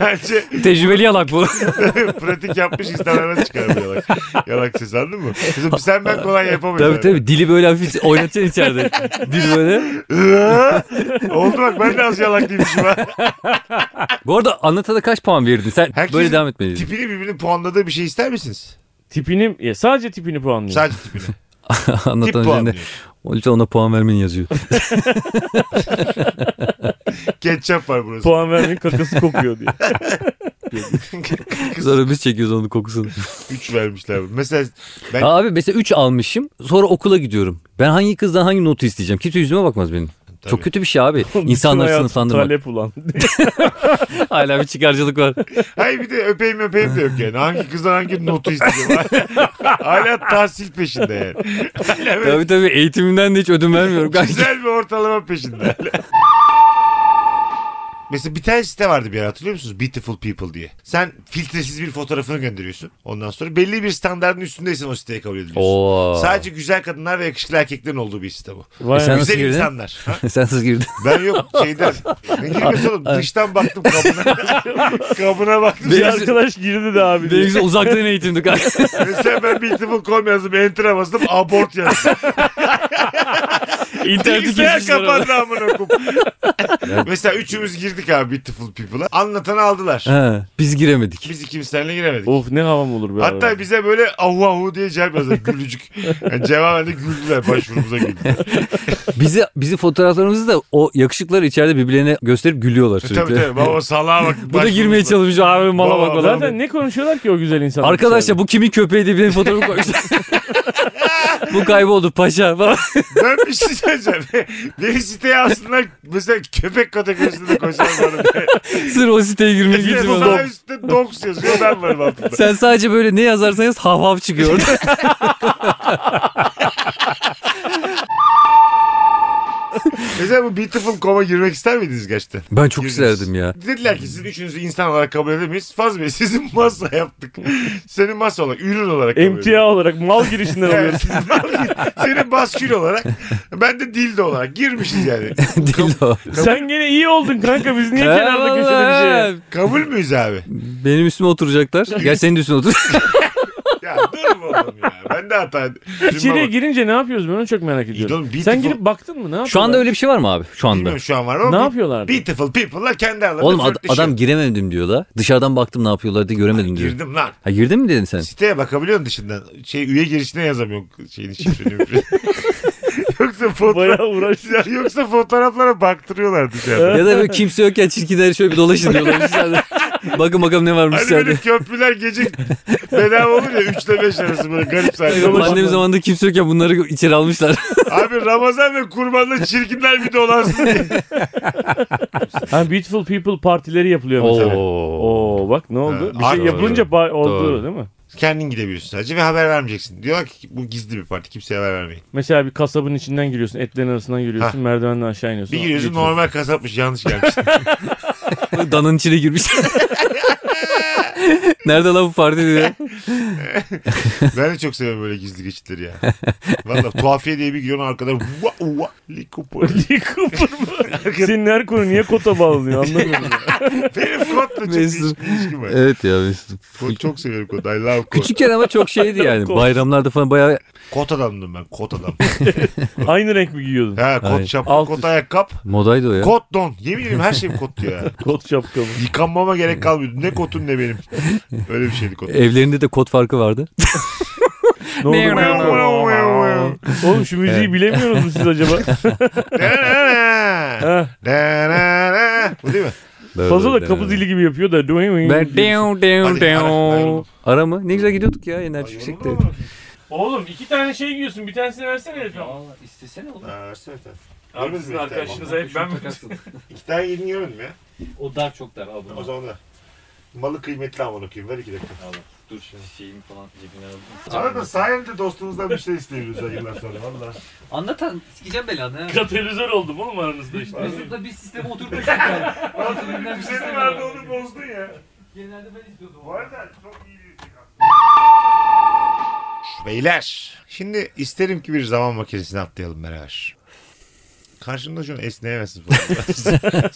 A: daha önce
B: Tecrübeli yalak bu.
A: <laughs> pratik yapmış insanlara çıkar bu yalak. Yalak sesi anladın mı? Mesela sen ben kolay
B: tabii
A: yapamıyorum.
B: tabii dili böyle hafif oynatacaksın içeride. Dil böyle.
A: Iıı! Oldu bak ben de az yalak değilmişim ha.
B: Bu arada anlatana kaç puan verdin? Sen
A: Herkes
B: böyle devam etmeliydin. <laughs>
A: Tipini birbirini puanladığı bir şey ister misiniz?
C: tipini ya sadece tipini puanlıyor.
A: Sadece tipini. Tip
B: Anlatan üzerinde.
A: puanlıyor.
B: Lütfen ona puan vermeni yazıyor.
A: Ketçap var burası. <laughs>
C: Puan vermeyin kakası kokuyor diye.
B: Sonra biz çekiyoruz onun kokusunu.
A: 3 vermişler. Mesela ben
B: Abi mesela 3 almışım. Sonra okula gidiyorum. Ben hangi kızdan hangi notu isteyeceğim? Kimse yüzüme bakmaz benim.
A: Tabii.
B: Çok kötü bir
A: <laughs>
B: şey abi. <laughs>
C: Bütün
B: İnsanları
C: hayatı
B: sınıflandırmak. E,
C: Talep ulan.
B: <laughs> Hala bir çıkarcılık var.
A: Hayır bir de öpeyim öpeyim de yok yani. Hangi kızdan hangi notu isteyeceğim. <laughs> Hala tahsil peşinde yani. <laughs> Hala böyle
B: tabii tabii eğitimimden de hiç ödün vermiyorum. Kanka.
A: güzel bir ortalama peşinde. Mesela bir tane site vardı bir ara hatırlıyor musunuz? Beautiful People diye. Sen filtresiz bir fotoğrafını gönderiyorsun. Ondan sonra belli bir standartın üstündeysen o siteye kabul ediliyorsun.
B: <laughs> Oo. <laughs>
A: Sadece güzel kadınlar ve yakışıklı erkeklerin olduğu bir site bu.
C: Vay
B: E sen-
C: be.
B: nasıl
A: Güzel
B: girdin?
A: insanlar. Ha?
B: Sensiz girdin.
A: <laughs> Ben yok şeyden. Ne girmiyorsun oğlum? Dıştan baktım
B: <laughs>
A: kabına. kabına baktım.
C: Bir arkadaş girdi de abi. diye.
B: Deniz'e uzaktan
A: <laughs>
B: eğitimdi kanka.
A: Mesela ben beautiful.com yazdım. Enter'a bastım. Abort yazdım.
B: İnterneti
A: Bilgisayar
B: kesmişler orada.
A: kapandı amına koyayım. Mesela üçümüz girdik abi beautiful people'a. Anlatanı aldılar.
B: He, biz giremedik.
A: Biz ikimiz seninle giremedik.
C: Of ne havam olur be abi.
A: Hatta bize böyle ahu ahu diye cevap yazdı. Gülücük. Yani cevaben de güldüler. Başvurumuza güldüler.
B: Bizi bizi fotoğraflarımızı da o yakışıklar içeride birbirlerine gösterip gülüyorlar
A: E,
B: sürekli.
A: tabii tabii. Baba salağa bak.
B: Bu da girmeye
A: Başvurumuza.
B: çalışmış abi mala bak
A: Baba,
B: falan.
C: Zaten ne konuşuyorlar ki o güzel insanlar?
B: Arkadaşlar bu kimin köpeği diye bir
A: <laughs>
B: fotoğrafı koymuşlar. bu kayboldu paşa falan. <laughs>
A: Ben bir şey söyleyeceğim. <laughs> Beni siteye alsınlar. Mesela köpek kategorisinde de koysunlar
B: <laughs>
A: bana.
B: Sırf o siteye girmeye
A: Bir E, de
B: girdim
A: sağ üstte dogs yazıyor. Ben varım
B: <laughs>
A: altında.
B: Sen sadece böyle ne yazarsan yaz hav hav çıkıyor orada.
A: Mesela bu beautiful com'a girmek ister miydiniz gerçekten?
B: <laughs> Ben çok
A: Girdiniz.
B: isterdim ya.
A: Dediler ki siz üçünüzü insan olarak kabul edemeyiz. Faz Bey sizin masa yaptık. Senin masa olarak, ürün olarak kabul ediyoruz.
C: MTA olarak mal <laughs> girişinden
A: Yani
C: alıyoruz.
A: siz <laughs> Senin baskül olarak, ben de dildo olarak girmişiz yani.
B: <laughs> Değil o.
C: Sen gene iyi oldun kanka
B: <laughs>
C: biz niye kenarda
B: Eyvallah.
C: köşede bir şey ya?
A: Kabul müyüz abi?
B: Benim üstüme oturacaklar. Gel senin üstüne otur.
A: Ya durun oğlum ya. Ben de hata.
C: İçeriye girince ne yapıyoruz ben onu çok merak ediyorum.
A: Oğlum, beautiful-
C: Sen girip baktın mı
B: <laughs>
C: ne
B: Şu anda öyle bir şey var mı abi? Şu anda.
A: Bilmiyorum şu an var ama.
C: Ne
A: be-
C: yapıyorlar?
A: Beautiful people'lar kendi aralarında
B: Oğlum ad-
A: flörtleşiyor.
B: adam giremedim diyor la. Dışarıdan baktım ne yapıyorlar diye göremedim diyor.
A: Girdim lan.
B: Ha girdin mi dedin <laughs> sen?
A: Siteye bakabiliyorsun dışından. Şey üye girişine yazamıyorsun şeyini şifreni. <laughs> Yoksa fotoğraf...
C: Bayağı <laughs> uğraştı.
A: Ya <laughs> Yoksa fotoğraflara baktırıyorlar dışarıda.
B: ya da böyle kimse yokken çirkinler şöyle bir dolaşın <laughs> diyorlar içeride. Bakın bakalım ne varmış
A: Hani böyle
B: içeride.
A: köprüler gece <laughs> bedava olur ya 3 ile 5 arası böyle garip sahne.
B: Pandemi zamanında kimse yokken bunları içeri <laughs> almışlar.
A: Abi Ramazan ve kurbanla çirkinler bir dolansın diye.
C: Ha, beautiful people partileri yapılıyor mesela. Oo.
B: Oo.
C: bak ne oldu?
A: Ha,
C: bir şey
A: doğru.
C: yapılınca ba- oldu
B: Doğru.
C: değil mi?
A: <laughs> Kendin gidebiliyorsun sadece ve haber vermeyeceksin. Diyorlar ki bu gizli bir parti kimseye haber vermeyin.
C: Mesela bir kasabın içinden giriyorsun, etlerin arasından giriyorsun, merdivenden aşağı iniyorsun.
A: Bir giriyorsun
C: Beautiful.
A: normal <laughs> kasapmış yanlış gelmiş.
B: <laughs> Danın içine girmiş. Nerede lan bu parti diye.
A: Ben de çok seviyorum böyle gizli geçitleri ya. Valla tuhafiye diye bir giriyorsun arkadan. Va, va, <laughs> likopoli.
C: <laughs> Lee Cooper mı? Senin her konu niye kota bağladın anlamıyorum. ya.
A: Benim kotla çok
B: Mesut.
A: ilişki- ilişkim var.
B: evet ya Mesut.
A: Kot çok seviyorum kot. I love kot.
B: Küçükken ama çok şeydi yani. Bayramlarda falan bayağı
A: Kot adamdım ben. Kot <laughs> adam.
C: <laughs> Aynı renk mi giyiyordun?
A: He kot
B: Hayır.
A: şapka,
C: Alt
A: kot
C: üst.
A: ayakkabı,
B: modaydı o ya.
A: kot don. Yemin ederim her şeyim kot diyor ya.
C: Kot şapkalı.
A: Yıkanmama gerek kalmıyordu. Ne kotun ne benim. Öyle bir şeydi kot.
B: Evlerinde de kod farkı vardı.
C: Ne oldu? Oğlum şu müziği bilemiyorsunuz mu siz acaba?
B: <laughs>
C: Ha,
A: Bu değil mi?
C: Fazla da kapı zili gibi yapıyor
B: Ben
C: da.
B: dev dev
A: Hadi, ara, ayrılalım.
B: dev. Ara mı? Ne güzel gidiyorduk ya enerji
A: şey
B: yüksekti.
C: Oğlum iki tane şey giyiyorsun. Bir tanesini versene Efe.
B: İstesene oğlum.
A: Ha, versene bir tane.
C: Abi
A: Görmedin
C: sizin
A: mi?
C: arkadaşınıza hep ben mi?
A: İki tane yedin görmedim ya.
B: O dar çok dar abi.
A: O zaman da. Malı kıymetli amına koyayım. Ver iki dakika.
B: Dur şimdi şeyimi falan cebine
A: Arada sayende dostumuzdan bir şey isteyebiliriz ha yıllar sonra. Valla.
B: Anlatan sikeceğim belanı.
C: <laughs> Katalizör oldum oğlum aranızda işte.
B: Mesut'la bir sisteme oturtmuştuk yani. Altından bir
A: Senin
B: sistem
A: vardı
B: var.
A: şey onu bozdun ya.
B: Genelde ben istiyordum.
A: Bu arada çok iyi bir şey aslında. Beyler. Şimdi isterim ki bir zaman makinesine atlayalım beraber. Karşımda şu an esneyemezsiniz. bu arada.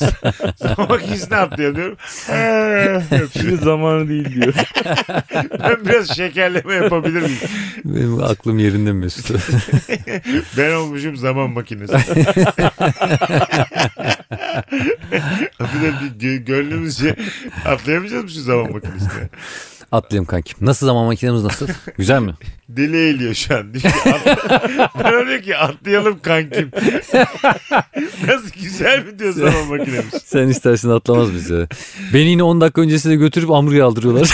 A: <laughs> zaman makinesine atlayalım diyorum.
C: Şimdi zamanı değil
B: <laughs>
C: diyor.
A: <laughs> ben biraz şekerleme yapabilir miyim?
B: Benim aklım yerinde Mesut. <laughs>
A: Ben olmuşum zaman makinesi. <laughs> Hafiften bir gö- gönlümüzce şey, atlayamayacağız mı şu zaman makinesine?
B: Atlayayım kankim. Nasıl zaman makinemiz nasıl? Güzel mi?
A: Deli eğiliyor şu an. Diyor ki, atla- <laughs> ben ona diyor ki atlayalım kankim. <laughs> Nasıl güzel mi diyor zaman makinemiz.
B: Sen istersen atlamaz bize. Beni yine 10 dakika öncesine götürüp amruya
C: <laughs>
B: aldırıyorlar.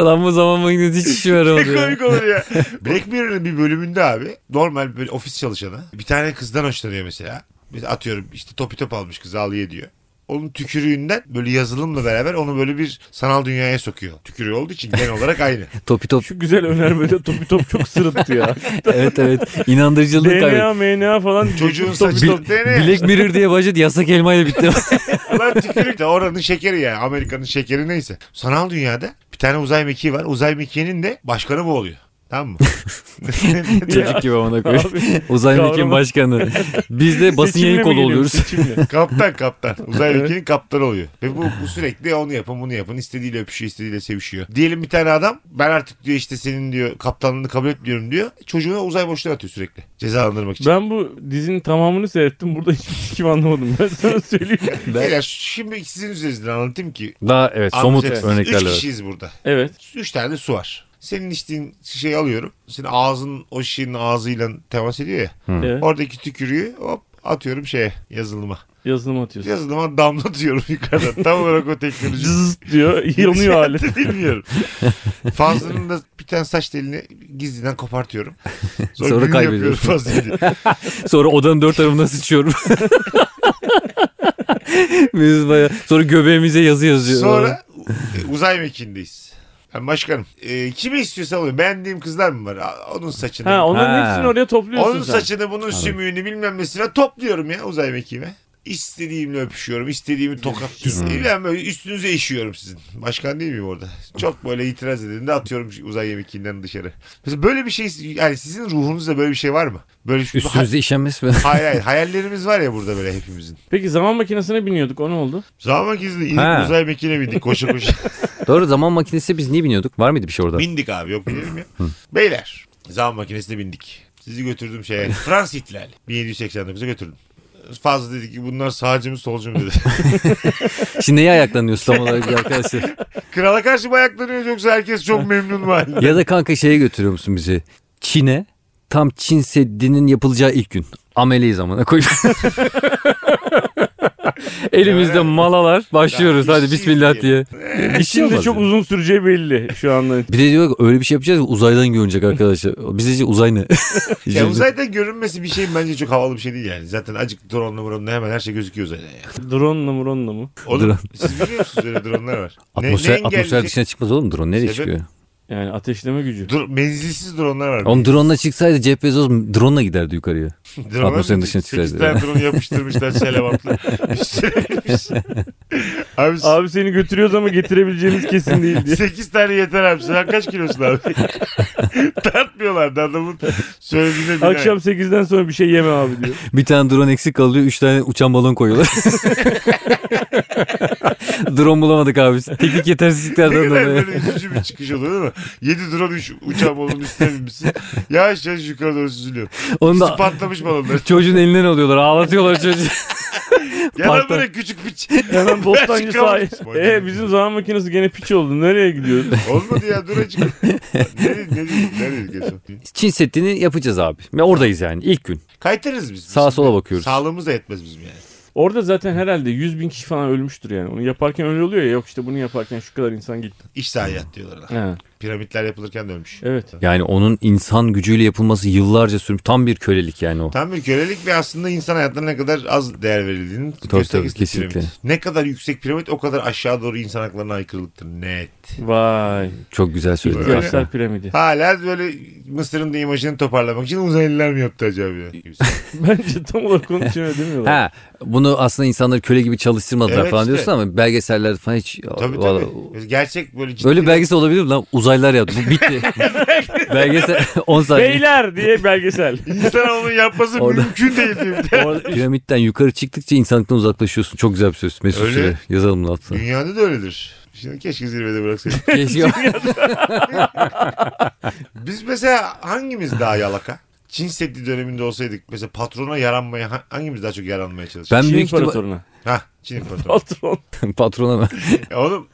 B: Lan bu zaman makinesi hiç işime
A: Ne
B: yaramadı ya.
A: komik olur <laughs> ya. Black Mirror'ın bir bölümünde abi normal böyle ofis çalışanı bir tane kızdan hoşlanıyor mesela. Biz atıyorum işte topi top almış kız ağlıyor diyor. Onun tükürüğünden böyle yazılımla beraber onu böyle bir sanal dünyaya sokuyor. Tükürüğü olduğu için genel olarak <laughs> aynı.
B: Topi top.
C: Şu güzel önermede topi top çok
B: <laughs>
C: sırıttı ya.
B: Evet evet. İnandırıcılığı kaybetti.
C: DNA, MNA falan.
B: <laughs>
C: <laughs>
A: Çocuğun
C: Topi
A: saçı
C: top.
A: top değil mi?
B: Black Mirror diye başladı yasak elmayla
C: <laughs>
B: bitti.
A: Ulan tükürük de oranın şekeri yani. Amerika'nın şekeri neyse. Sanal dünyada bir tane uzay mekiği var. Uzay mekiğinin de başkanı bu oluyor. Tamam mı?
B: Çocuk gibi ona koy.
C: Abi,
B: Uzay mekiğin
C: Kavramı-
B: başkanı. Biz de basın
C: seçimle
B: yayın
C: mi
B: kolu
C: geliyor,
B: oluyoruz.
C: seçimle?
A: kaptan kaptan. Uzay mekiğinin kaptanı oluyor. Ve bu, bu sürekli onu yapın bunu yapın. istediğiyle öpüşüyor istediğiyle sevişiyor. Diyelim bir tane adam ben artık diyor işte senin diyor kaptanlığını kabul etmiyorum diyor. Çocuğuna uzay boşluğu atıyor sürekli. Cezalandırmak için.
C: Ben bu dizinin tamamını seyrettim. Burada hiçbir sikim anlamadım. Ben sana söyleyeyim.
B: <laughs>
A: Beyler, şimdi sizin üzerinizden anlatayım ki.
B: Daha evet somut
A: anlayacaksınız.
B: örneklerle.
A: şey, Üç
B: var.
A: kişiyiz burada.
C: Evet.
A: Üç tane de su var. Senin içtiğin şişeyi alıyorum. Senin ağzın o şişenin ağzıyla temas ediyor ya.
C: evet.
A: Oradaki tükürüğü hop atıyorum şeye yazılıma.
C: Yazılım atıyorsun.
A: Yazılıma damlatıyorum <laughs> yukarıdan. Tam olarak o teknoloji.
C: Cız <laughs> diyor. Yanıyor alet.
A: Şey Bilmiyorum. Fazlının da bir tane saç telini gizliden kopartıyorum. Sonra,
B: Sonra
A: Sonra kaybediyorum
B: kaybediyorsun.
A: fazlıyı.
B: Sonra odanın dört
A: <laughs>
B: tarafına sıçıyorum. Biz bayağı. Sonra göbeğimize yazı yazıyor.
A: Sonra e, uzay mekiğindeyiz. Ben başkanım. E, kimi istiyorsa alıyorum. Beğendiğim kızlar mı var? A- Onun saçını.
C: Ha onların
B: Ha.
C: hepsini oraya topluyorsun
A: Onun
C: sen.
A: saçını bunun sümüğünü bilmem nesine topluyorum ya uzay mekiğime. İstediğimle öpüşüyorum. istediğimi tokatlıyorum. Ben böyle üstünüze işiyorum sizin. Başkan değil miyim orada? Çok böyle itiraz edildiğinde atıyorum şu uzay mekiğinden dışarı. Mesela böyle bir şey yani sizin ruhunuzda böyle bir şey var mı? Böyle şu,
B: Üstümüzde işenmez mi?
A: Hayır hayır hayallerimiz var ya burada böyle hepimizin.
C: Peki zaman makinesine biniyorduk. O ne oldu?
A: Zaman gizli inip
B: Ha.
A: uzay mekiğine bindik koşa koşa.
B: Doğru zaman makinesi biz niye biniyorduk? Var mıydı bir şey orada?
A: bindik abi yok binelim ya. Beyler zaman makinesine bindik. Sizi götürdüm şeye. Fransız ihtilali. 1789'a götürdüm. Fazla dedi ki bunlar sağcı mı solcu mu dedi. <laughs>
B: Şimdi neye ayaklanıyoruz tam olarak bir
A: <laughs>
B: arkadaşlar?
A: Krala karşı mı ayaklanıyoruz yoksa herkes çok memnun
B: <laughs>
A: mu halinde?
B: ya da kanka şeye götürüyor musun bizi? Çin'e tam Çin Seddi'nin yapılacağı ilk gün. Ameleyiz amına koy.
A: <laughs>
B: Elimizde malalar başlıyoruz
A: Ya şey
B: hadi
A: işi
B: bismillah diye. şey
C: İşin de
B: olmaz
C: çok
B: yani.
C: uzun süreceği belli şu anda.
B: Bir de diyor ki öyle bir şey yapacağız ki uzaydan görünecek arkadaşlar. Bize diyor, uzay ne?
A: <laughs> Ya uzaydan görünmesi bir şey bence çok havalı bir şey değil yani. Zaten acık drone'la muronla hemen her şey gözüküyor uzayda
B: <laughs>
A: yani.
C: <laughs> Drone'la muronla mı?
A: Oğlum
B: Drone.
A: siz biliyor musunuz öyle drone'lar var. Ne- şey- ne
B: Atmosfer, atmosfer
A: engelleyecek?
B: dışına çıkmaz oğlum drone nereye
A: Sebep?
B: çıkıyor?
C: Yani ateşleme gücü.
A: Dur, menzilsiz dronlar var.
B: Oğlum drone'la çıksaydı Jeff Bezos drone'la giderdi yukarıya.
A: Dronelar
B: atmosferin dışına
A: sekiz
B: çıkardı.
A: tane drone
B: <laughs>
A: yapıştırmışlar şelevantla. Üstüne binmiş. abi,
C: Abi seni götürüyoruz ama getirebileceğimiz <laughs> kesin değil diye.
A: 8 tane yeter abi. Sen kaç kilosun abi?
B: <laughs>
A: Tartmıyorlar da adamın söylediğine bile.
C: Akşam 8'den sonra bir şey yeme abi diyor.
B: Bir tane drone eksik kalıyor. Üç tane uçan balon <laughs> koyuyorlar. drone bulamadık abi. Teknik
A: Ne
B: yetersizliklerden
A: kadar
B: dolayı.
A: böyle üzücü bir çıkış oluyor değil mi? 7 drone 3 uçağım oğlum istememişsin. Yavaş yavaş yukarı doğru süzülüyor.
B: Onu
A: İkisi
B: da
A: patlamış
B: <laughs>
A: balonlar.
B: çocuğun elinden alıyorlar. Ağlatıyorlar çocuğu.
A: Yalan
B: Patlar.
A: böyle küçük piç.
C: <laughs> Hemen bostancı
A: Belçikalı.
C: sahil. <laughs> E bizim zaman makinesi gene piç oldu. Nereye <laughs> gidiyoruz?
A: Olmadı ya dur acık.
B: <laughs>
A: ne dedi ne dedi ne dedi geçen?
B: <laughs> Çin setini yapacağız abi. Ve oradayız yani ilk gün.
A: Kaytarız biz.
B: Sağa
A: Biz-
B: sola bakıyoruz.
A: Sağlığımız da yetmez bizim yani.
C: Orada zaten herhalde 100 bin kişi falan ölmüştür yani. Onu yaparken öyle oluyor ya. Yok işte bunu yaparken şu kadar insan gitti.
A: İş sahiyat diyorlar. ona.
C: He.
A: Piramitler yapılırken dönmüş.
C: Evet.
B: Yani onun insan gücüyle yapılması yıllarca sürmüş. Tam bir kölelik yani o.
A: Tam bir kölelik ve aslında insan hayatlarına ne kadar az değer verildiğinin
B: tabii,
A: göstergesi
B: kesinlikle.
A: piramit. Ne kadar yüksek piramit o kadar aşağı doğru insan haklarına aykırılıktır. Net.
C: Vay.
B: Çok güzel söyledin.
A: Böyle.
B: aslında.
C: İhtiyaçlar piramidi.
A: Hala böyle Mısır'ın da imajını toparlamak için uzaylılar mı yaptı acaba? Kimse.
C: Bence tam olarak onun için öyle demiyorlar.
B: <laughs> Ha, bunu aslında insanları köle gibi çalıştırmadılar
A: Evet
B: falan
A: işte.
B: diyorsun ama belgesellerde falan hiç
A: tabii
B: Valla-
A: tabii. Gerçek böyle ciddi.
B: Öyle belgesel olabilir mi lan? Uzaylılar yaptı. Bu <laughs> bitti. belgesel <laughs> 10 saniye.
C: Beyler
B: <laughs>
C: diye belgesel.
A: İnsan onun yapması
B: Orada-
A: mümkün değil. diyor.
C: Orada-
B: Piramitten yukarı çıktıkça insanlıktan uzaklaşıyorsun. Çok güzel bir söz. Mesut
A: Öyle.
B: Süre. Yazalım bunu altına.
A: Dünyada da öyledir. Şimdi keşke zirvede bıraksaydık.
B: Keşke
A: Biz mesela hangimiz daha yalaka? Çin Seddi döneminde olsaydık mesela patrona yaranmaya ha- hangimiz daha çok yaranmaya çalışır?
B: ben
C: Çin
B: büyük ihtimal-
C: Şey imparatoruna.
A: Hah Çin
B: <laughs>
A: imparatoru.
C: Patron.
B: <laughs> patrona mı?
A: Ya oğlum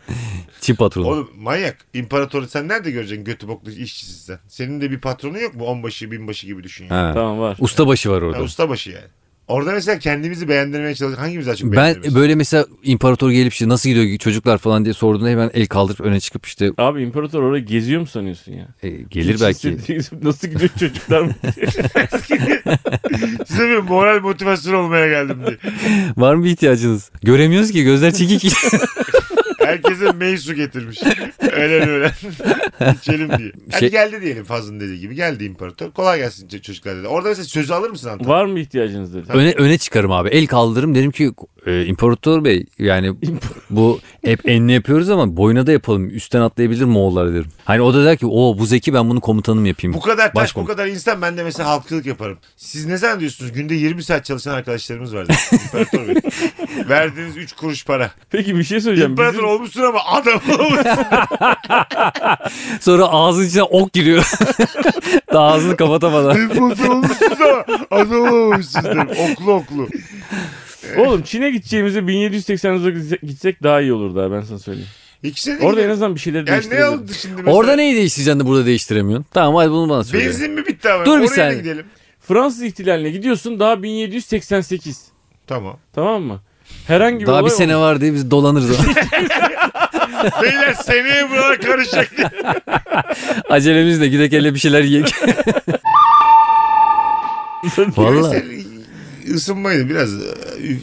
B: Çin patronu.
A: Oğlum manyak. İmparatoru sen nerede göreceksin götü boklu işçisi sen? Senin de bir patronu yok mu? Onbaşı, binbaşı gibi düşün yani.
B: Ha.
C: Tamam var.
B: Ustabaşı var
A: Ha,
B: orada.
A: ustabaşı yani. Orada mesela kendimizi beğendirmeye çalışıyoruz. Hangimiz daha çok
B: Ben
A: beğendirmeyiz?
B: böyle mesela imparator gelip işte nasıl gidiyor çocuklar falan diye sorduğunda hemen el kaldırıp öne çıkıp işte
C: Abi imparator oraya geziyor mu sanıyorsun ya?
B: e, gelir
C: Hiç
B: belki.
C: hissettiğiniz- Nasıl gidiyor
B: <laughs>
C: çocuklar mı?
A: <laughs> Size bir moral motivasyon olmaya geldim diye.
B: Var mı bir ihtiyacınız? Göremiyoruz ki
A: <laughs>
B: gözler çekik. <laughs>
A: Herkese mey su getirmiş. Öyle böyle. <laughs> İçelim diye. Hadi
B: Şey-
A: geldi diyelim Fazlı'nın dediği gibi. Geldi imparator. Kolay gelsin ç- çocuklar dedi. Orada mesela sözü alır mısın Antalya?
C: var mı ihtiyacınız dedi.
B: öne öne çıkarım abi. El kaldırırım derim ki e, imparator bey yani bu hep enli yapıyoruz ama boyuna da yapalım. Üstten atlayabilir Moğollar derim. Hani o da der ki o bu zeki ben bunu komutanım yapayım.
A: Bu kadar taş, bu
B: Başkomutan.
A: kadar insan ben de mesela halkçılık yaparım. Siz ne zaman diyorsunuz? Günde 20 saat çalışan arkadaşlarımız var. dedi. İmparator Bey.
B: <laughs>
A: Verdiğiniz 3 kuruş para.
C: Peki bir şey söyleyeceğim.
A: İmparator
C: Bizim,
A: olmuşsun ama adam olmuşsun.
B: Sonra ağzın içine ok giriyor. <laughs> Daha ağzını kapatamadan.
A: İmparator olmuşsun ama adam olmamışsın. dedim. Oklu oklu.
C: oğlum Çin'e gideceğimize 1789'a gitsek daha iyi olur daha ben sana söyleyeyim.
A: İkisi de
C: Orada en azından bir
A: yani
C: şeyleri
A: ne
C: değiştirebilirim.
A: oldu şimdi mesela?
B: Orada neyi değiştireceksin de burada değiştiremiyorsun? Tamam hadi bunu bana söyle.
A: Benzin mi bitti ama?
B: Dur bir
A: Oraya da
B: saniye.
A: gidelim.
C: Fransız ihtilaline gidiyorsun daha 1788.
A: Tamam.
C: Tamam mı? Herhangi bir
B: Daha bir
C: olay
B: sene
C: olmaz.
B: var diye biz
C: <laughs>
B: dolanırız.
A: Beyler seneye buralar karışacak.
B: Acelemizle gidek hele bir şeyler
C: <laughs>
B: yiyek. <laughs> Vallahi
A: Küresel ısınmaydı biraz e,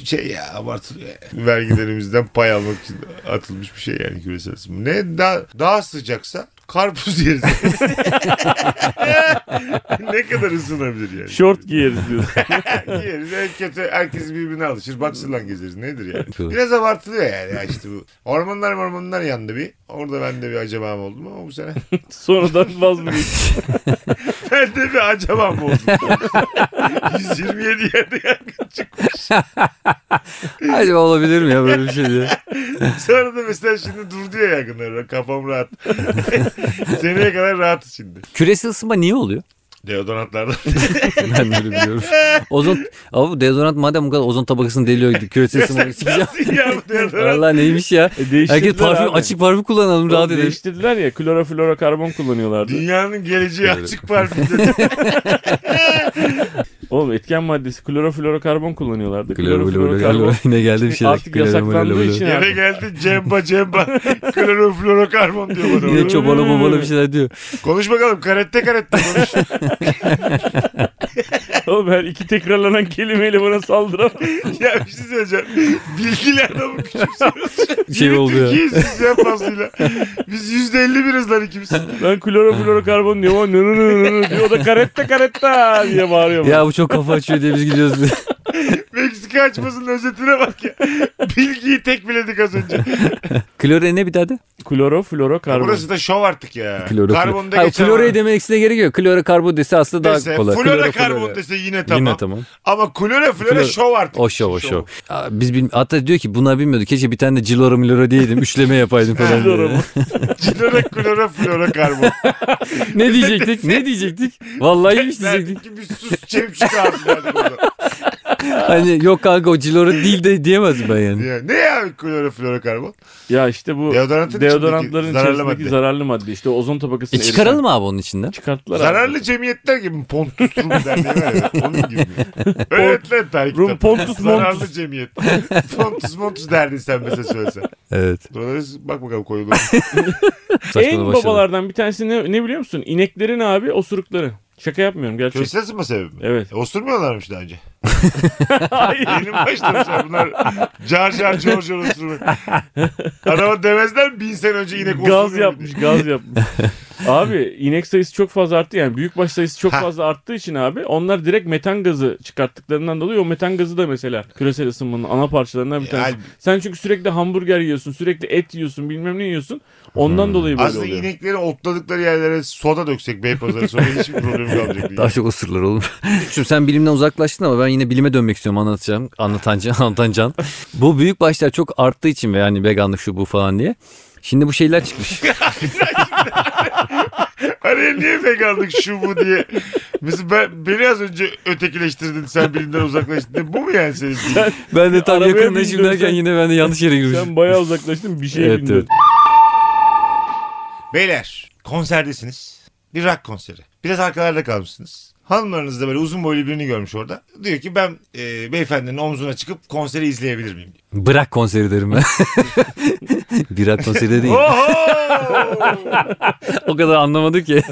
A: şey ya abartılıyor. yani. Vergilerimizden pay almak için atılmış bir şey yani küresel ısınma. Ne daha, daha sıcaksa karpuz yeriz. <laughs> ne kadar ısınabilir yani.
C: Şort giyeriz diyorsun.
A: Yeriz en kötü herkes birbirine alışır. Baksırla gezeriz nedir yani.
B: Tabii.
A: Biraz abartılıyor yani ya işte bu. Ormanlar ormanlar yandı bir. Orada ben de bir acabam oldum ama bu sene. <laughs>
C: Sonradan vazgeç.
A: Ben de bir acabam oldum. <laughs> 127 yerde yangın çıktı.
B: acaba olabilir mi ya böyle bir şey diye.
A: Sonra da mesela şimdi durdu ya yakınlar. Kafam rahat. <laughs> Seneye kadar rahat şimdi.
B: Küresel ısınma niye oluyor?
A: <laughs> Deodorantlardan.
B: Ben de öyle
C: <laughs>
B: biliyorum. Ozon, abi bu deodorant madem bu kadar ozon tabakasını deliyor küresel ısınma
C: <laughs>
B: çıkacak.
A: Nasıl ya bu deodorant?
B: Valla neymiş ya.
C: E, değiştirdiler
B: Herkes parfüm,
C: abi.
B: açık parfüm kullanalım
C: Oğlum
B: rahat edelim.
C: Değiştirdiler ya kloroflorokarbon kullanıyorlardı.
A: Dünyanın geleceği açık parfümde.
C: Oğlum etken maddesi kloroflorokarbon kullanıyorlardı. Kloroflorokarbon
B: Glorobulur. Yine geldi bir
C: Şimdi
B: şeyler.
C: artık yasaklandığı için
A: Yere
C: abi.
A: geldi cemba cemba. Kloroflorokarbon diyor bana.
B: Yine çobana bobana bir şeyler diyor.
A: Konuş bakalım karette karette konuş.
C: Oğlum her iki tekrarlanan kelimeyle bana saldıran.
A: <laughs> ya bir şey söyleyeceğim. Bilgiler adamı küçümsüyoruz.
B: Şey oldu ya.
A: Türkiye'yiz biz ya fazlıyla. Biz yüzde elli biriz lan ikimiz.
C: Ben kloro floro karbon diyorum. ama nö nö nö nö nö diyor. O da karetta karetta diye bağırıyor. bana.
B: Ya e. bu çok kafa açıyor diye biz gidiyoruz.
A: Meksika açmasının özetine bak ya. Bilgiyi tek biledik az önce.
B: Klore ne bir daha de?
C: Kloro floro karbon.
A: Burası da şov artık ya.
B: Kloro.
A: Karbon da
B: Ha,
A: geçer.
B: Klore demekse gerek yok. Klore karbo dese aslında daha
A: Dese,
B: kolay.
A: Flora
B: Kloro,
A: karbon
B: flora.
A: dese yine tamam.
B: Yine tamam.
A: Ama klora flora
B: Flora-
A: şov artık.
B: O şov o şov. Aa, Biz bilmi- Hatta diyor ki bunlar bilmiyorduk. Keşke bir tane de ciloro miloro diyeydim. Üçleme yapaydım falan.
C: Kloro
B: diye.
C: mu?
A: Klora klora flora
B: <laughs>
A: karbon.
B: ne diyecektik? Ne diyecektik? Vallahi iyiymiş diyecektik.
A: Derdik ki bir sus çevik ağzını artık oradan.
B: Hani yok kanka o ciloro değil de diyemezdim ben yani.
A: Ya, ne ya klora flora karbon?
C: Ya işte bu
A: Deodorantın
C: deodorantların
A: içindeki zararlı
C: içerisindeki
A: madde.
C: zararlı madde. İşte ozon tabakasını
B: E çıkaralım abi onun içinden.
C: Çıkarttılar abi.
A: Zararlı cemiyetler gibi Pontus Rum derneği var
C: <laughs>
A: ya. Onun gibi. Öğret lan tarihte.
C: Rum Pontus
A: Zararlı
C: Montus.
A: cemiyet. <laughs> Pontus Montus derdin sen mesela söylesen.
B: Evet.
A: Buralara bak bakalım koyulur.
B: Saçmalama
C: en
B: başladı.
C: babalardan bir tanesi ne, ne biliyor musun? İneklerin abi osurukları. Şaka yapmıyorum gerçek.
A: Köşe ısınma sebebi mi?
C: Evet.
A: E, Osurmuyorlarmış daha önce.
C: <laughs> Hayır.
A: Yeni mi başlamışlar bunlar. Car car cor cor osurmak. Adama demezler mi bin sene önce inek osurmuyor.
C: gaz yapmış,
A: <laughs>
C: gaz yapmış. abi inek sayısı çok fazla arttı yani büyükbaş sayısı çok
A: Ha.
C: fazla arttığı için abi onlar direkt metan gazı çıkarttıklarından dolayı o metan gazı da mesela küresel ısınmanın ana parçalarından bir
A: E,
C: tanesi.
A: halb-
C: Sen çünkü sürekli hamburger yiyorsun, sürekli et yiyorsun, bilmem ne yiyorsun. Ondan
B: Hmm.
C: dolayı böyle
A: Aslında
C: oluyor.
A: inekleri otladıkları yerlere soda döksek Beypazarı sonra hiçbir problem kalmayacak.
C: <laughs>
A: diye.
B: Daha çok osurlar <laughs> oğlum. Şimdi sen bilimden uzaklaştın ama ben yine bilime dönmek istiyorum anlatacağım. <laughs> Anlatancan, anlatancan. Bu büyük başlar çok arttığı için ve yani veganlık şu bu falan diye. Şimdi bu şeyler çıkmış.
A: Araya Hani niye veganlık şu bu diye. Mesela ben, beni az önce ötekileştirdin sen bilimden uzaklaştın diye. Bu mu yani senin?
C: Sen,
B: ben de tam
C: Arabaya
B: yakınına
C: bindin
B: şimdi derken
C: sen.
B: yine ben de yanlış yere girmişim.
C: sen bayağı uzaklaştın bir şeye
B: Evet,
C: bindin.
B: evet.
A: Beyler konserdesiniz. Bir rock konseri. Biraz arkalarda kalmışsınız. Hanımlarınız da böyle uzun boylu birini görmüş orada. Diyor ki ben e, beyefendinin omzuna çıkıp konseri izleyebilir miyim? diyor.
B: Bırak konseri derim ben. Birak konseri
A: <laughs>
B: de değil.
A: Oho!
B: o kadar anlamadı ki.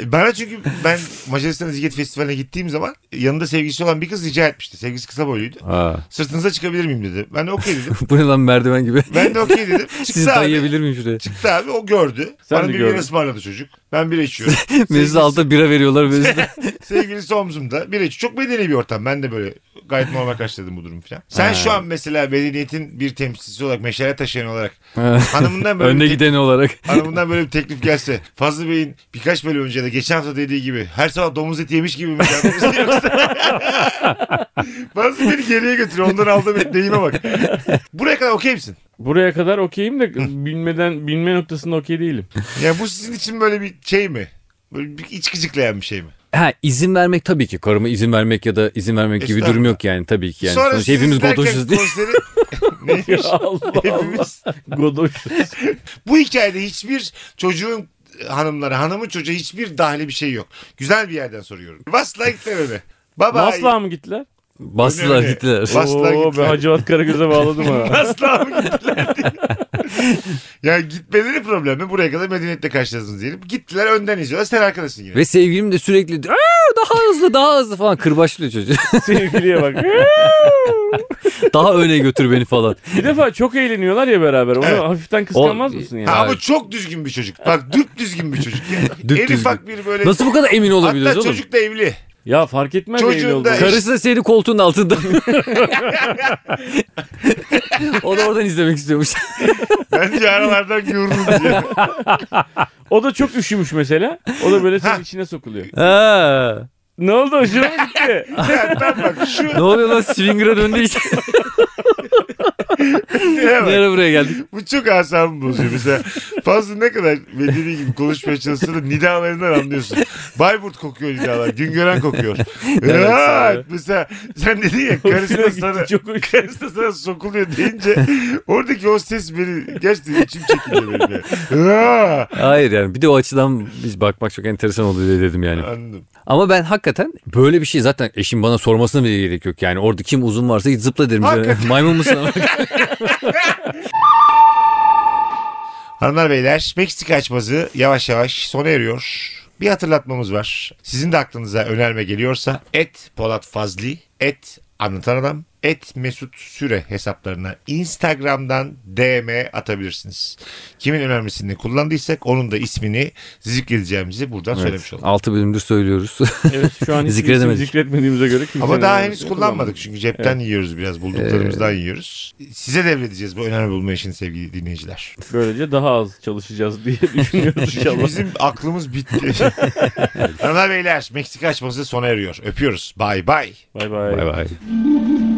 A: E, Bana çünkü ben Macaristan Eziyet Festivali'ne gittiğim zaman yanında sevgilisi olan bir kız rica etmişti. Sevgilisi kısa boyluydu. Sırtınıza çıkabilir miyim dedi. Ben de okey dedim.
B: <laughs> bu ne lan merdiven gibi.
A: Ben de okey dedim.
B: Sizi
A: Çıktı abi.
B: dayayabilir miyim şuraya?
A: Çıktı abi o gördü.
C: Sen
A: Bana
C: de
A: bir
C: gördün.
A: bira ısmarladı çocuk. Ben bira
C: <laughs>
A: içiyorum.
B: Mesut altta bira veriyorlar. Mesut.
A: Sevgilisi omzumda. Bira içiyor. Çok medeni bir ortam. Ben de böyle gayet normal karşıladım bu durumu falan. Sen şu an mesela medeniyetin bir temsilcisi olarak meşale taşıyan olarak hanımından
C: <laughs>
A: böyle
B: Önde
A: bir
B: gideni olarak.
A: Hanımından böyle bir teklif gelse Fazlı Bey'in birkaç bölüm önce de geçen hafta dediği gibi her sabah domuz eti yemiş gibi mi? yapmamızı <laughs> yoksa? Fazlı beni geriye götürüyor. Ondan aldığım et neyime bak. Buraya kadar okey misin?
C: Buraya kadar okeyim de bilmeden bilme noktasında
A: <laughs>
C: okey değilim. <laughs>
A: Yani bu sizin için böyle bir şey mi? Böyle bir iç gıcıklayan bir şey mi?
B: Ha izin vermek tabii ki. Karıma izin vermek ya da izin vermek gibi
A: Estağfurullah.
B: durum yok yani tabii ki. Yani.
A: Sonra
B: Sonuçta
A: siz
B: hepimiz
A: derken
B: bodoşuz diye. <laughs>
A: konseri... Neymiş?
C: Allah Allah.
A: Hepimiz.
C: Godoş.
A: Bu hikayede hiçbir çocuğun hanımlara, hanımın çocuğa hiçbir dahili bir şey yok. Güzel bir yerden soruyorum. Vasla gitme öyle. Baba.
C: Masla mı gittiler?
B: Bastılar
A: Öyle.
B: gittiler.
A: Bas- Masla
C: Oo,
A: gittiler.
C: ben Hacivat Karagöz'e bağladım ha.
A: <laughs> Asla mı gittiler diye. <laughs> yani gitmeleri problemi buraya kadar medeniyetle karşılaştınız diyelim. Gittiler önden izliyorlar sen arkadaşın yine.
B: Ve sevgilim de sürekli "Aa, daha hızlı daha hızlı falan kırbaçlıyor çocuğu. <laughs>
C: Sevgiliye bak.
B: daha öne götür beni falan.
C: Bir defa çok eğleniyorlar ya beraber. Onu
A: Evet.
C: hafiften kıskanmaz
B: O-
C: mısın
A: Ha,
C: yani?
A: ama çok düzgün bir çocuk. Bak düp düzgün bir çocuk. Yani, en
B: <laughs> Düpdüzgün.
A: ufak bir böyle.
B: Nasıl bu kadar emin
A: Hatta
B: olabiliyoruz oğlum?
A: çocuk da evli.
C: Ya fark etmez
A: Çocuğun
C: neyin olduğunu.
A: da-
B: Karısı da seni
A: <laughs>
B: koltuğun altında. o da oradan izlemek istiyormuş.
A: Bence aralardan yoruldum
B: <laughs>
A: diye.
C: O da çok üşümüş mesela. O da böyle
A: Ha.
C: senin içine sokuluyor.
B: Ha.
C: Ne oldu hoşuna mı gitti?
A: Ya, ben bak şu
B: Ne oluyor lan
A: <laughs>
B: swinger'a döndü işte.
A: şeye bak.
B: Nereye buraya geldik?
A: Bu çok asabımı bozuyor. Mesela fazla ne kadar medeni gibi konuşmaya çalışsa da nidalarından anlıyorsun. Bayburt kokuyor nidalar. Güngören kokuyor. evet,
C: abi.
A: mesela sen dedin ya karısı
C: Hoşuna
A: da
C: gitti,
A: sana,
C: çok hoş.
A: karısı da sana sokuluyor deyince oradaki o ses beni gerçekten içim çekildi benim. yani. Aa!
B: Hayır yani bir de o açıdan biz bakmak çok enteresan oldu diye dedim yani.
A: Anladım.
B: Ama ben hakikaten böyle bir şey zaten eşim bana sormasına bile gerek yok yani. Orada kim uzun varsa git zıpla derim.
A: Hakikaten.
B: Maymun musun?
A: Hanımlar beyler Meksika açması yavaş yavaş sona eriyor. Bir hatırlatmamız var. Sizin de aklınıza önerme geliyorsa et Polat Fazli, et Anlatan Adam, et Mesut Süre hesaplarına Instagram'dan DM atabilirsiniz. Kimin önermesini kullandıysak onun da ismini zikredeceğimizi buradan söylemiş olduk.
B: 6 bölümdür söylüyoruz.
C: Evet şu an hiç
B: Zikredemedik.
C: isim zikretmediğimize göre kimsenin
A: Ama daha
C: önermesini
A: henüz kullanmadık Ee, çünkü cepten yiyoruz biraz bulduklarımızdan yiyoruz. Size devredeceğiz bu önerme bulma işini sevgili dinleyiciler.
C: Böylece daha az çalışacağız diye <laughs> düşünüyoruz inşallah.
A: Bizim aklımız bitti. Hanımlar beyler Meksika açması sona eriyor. Öpüyoruz. <laughs> Bay bay.
C: Bay bay.
B: bay bay.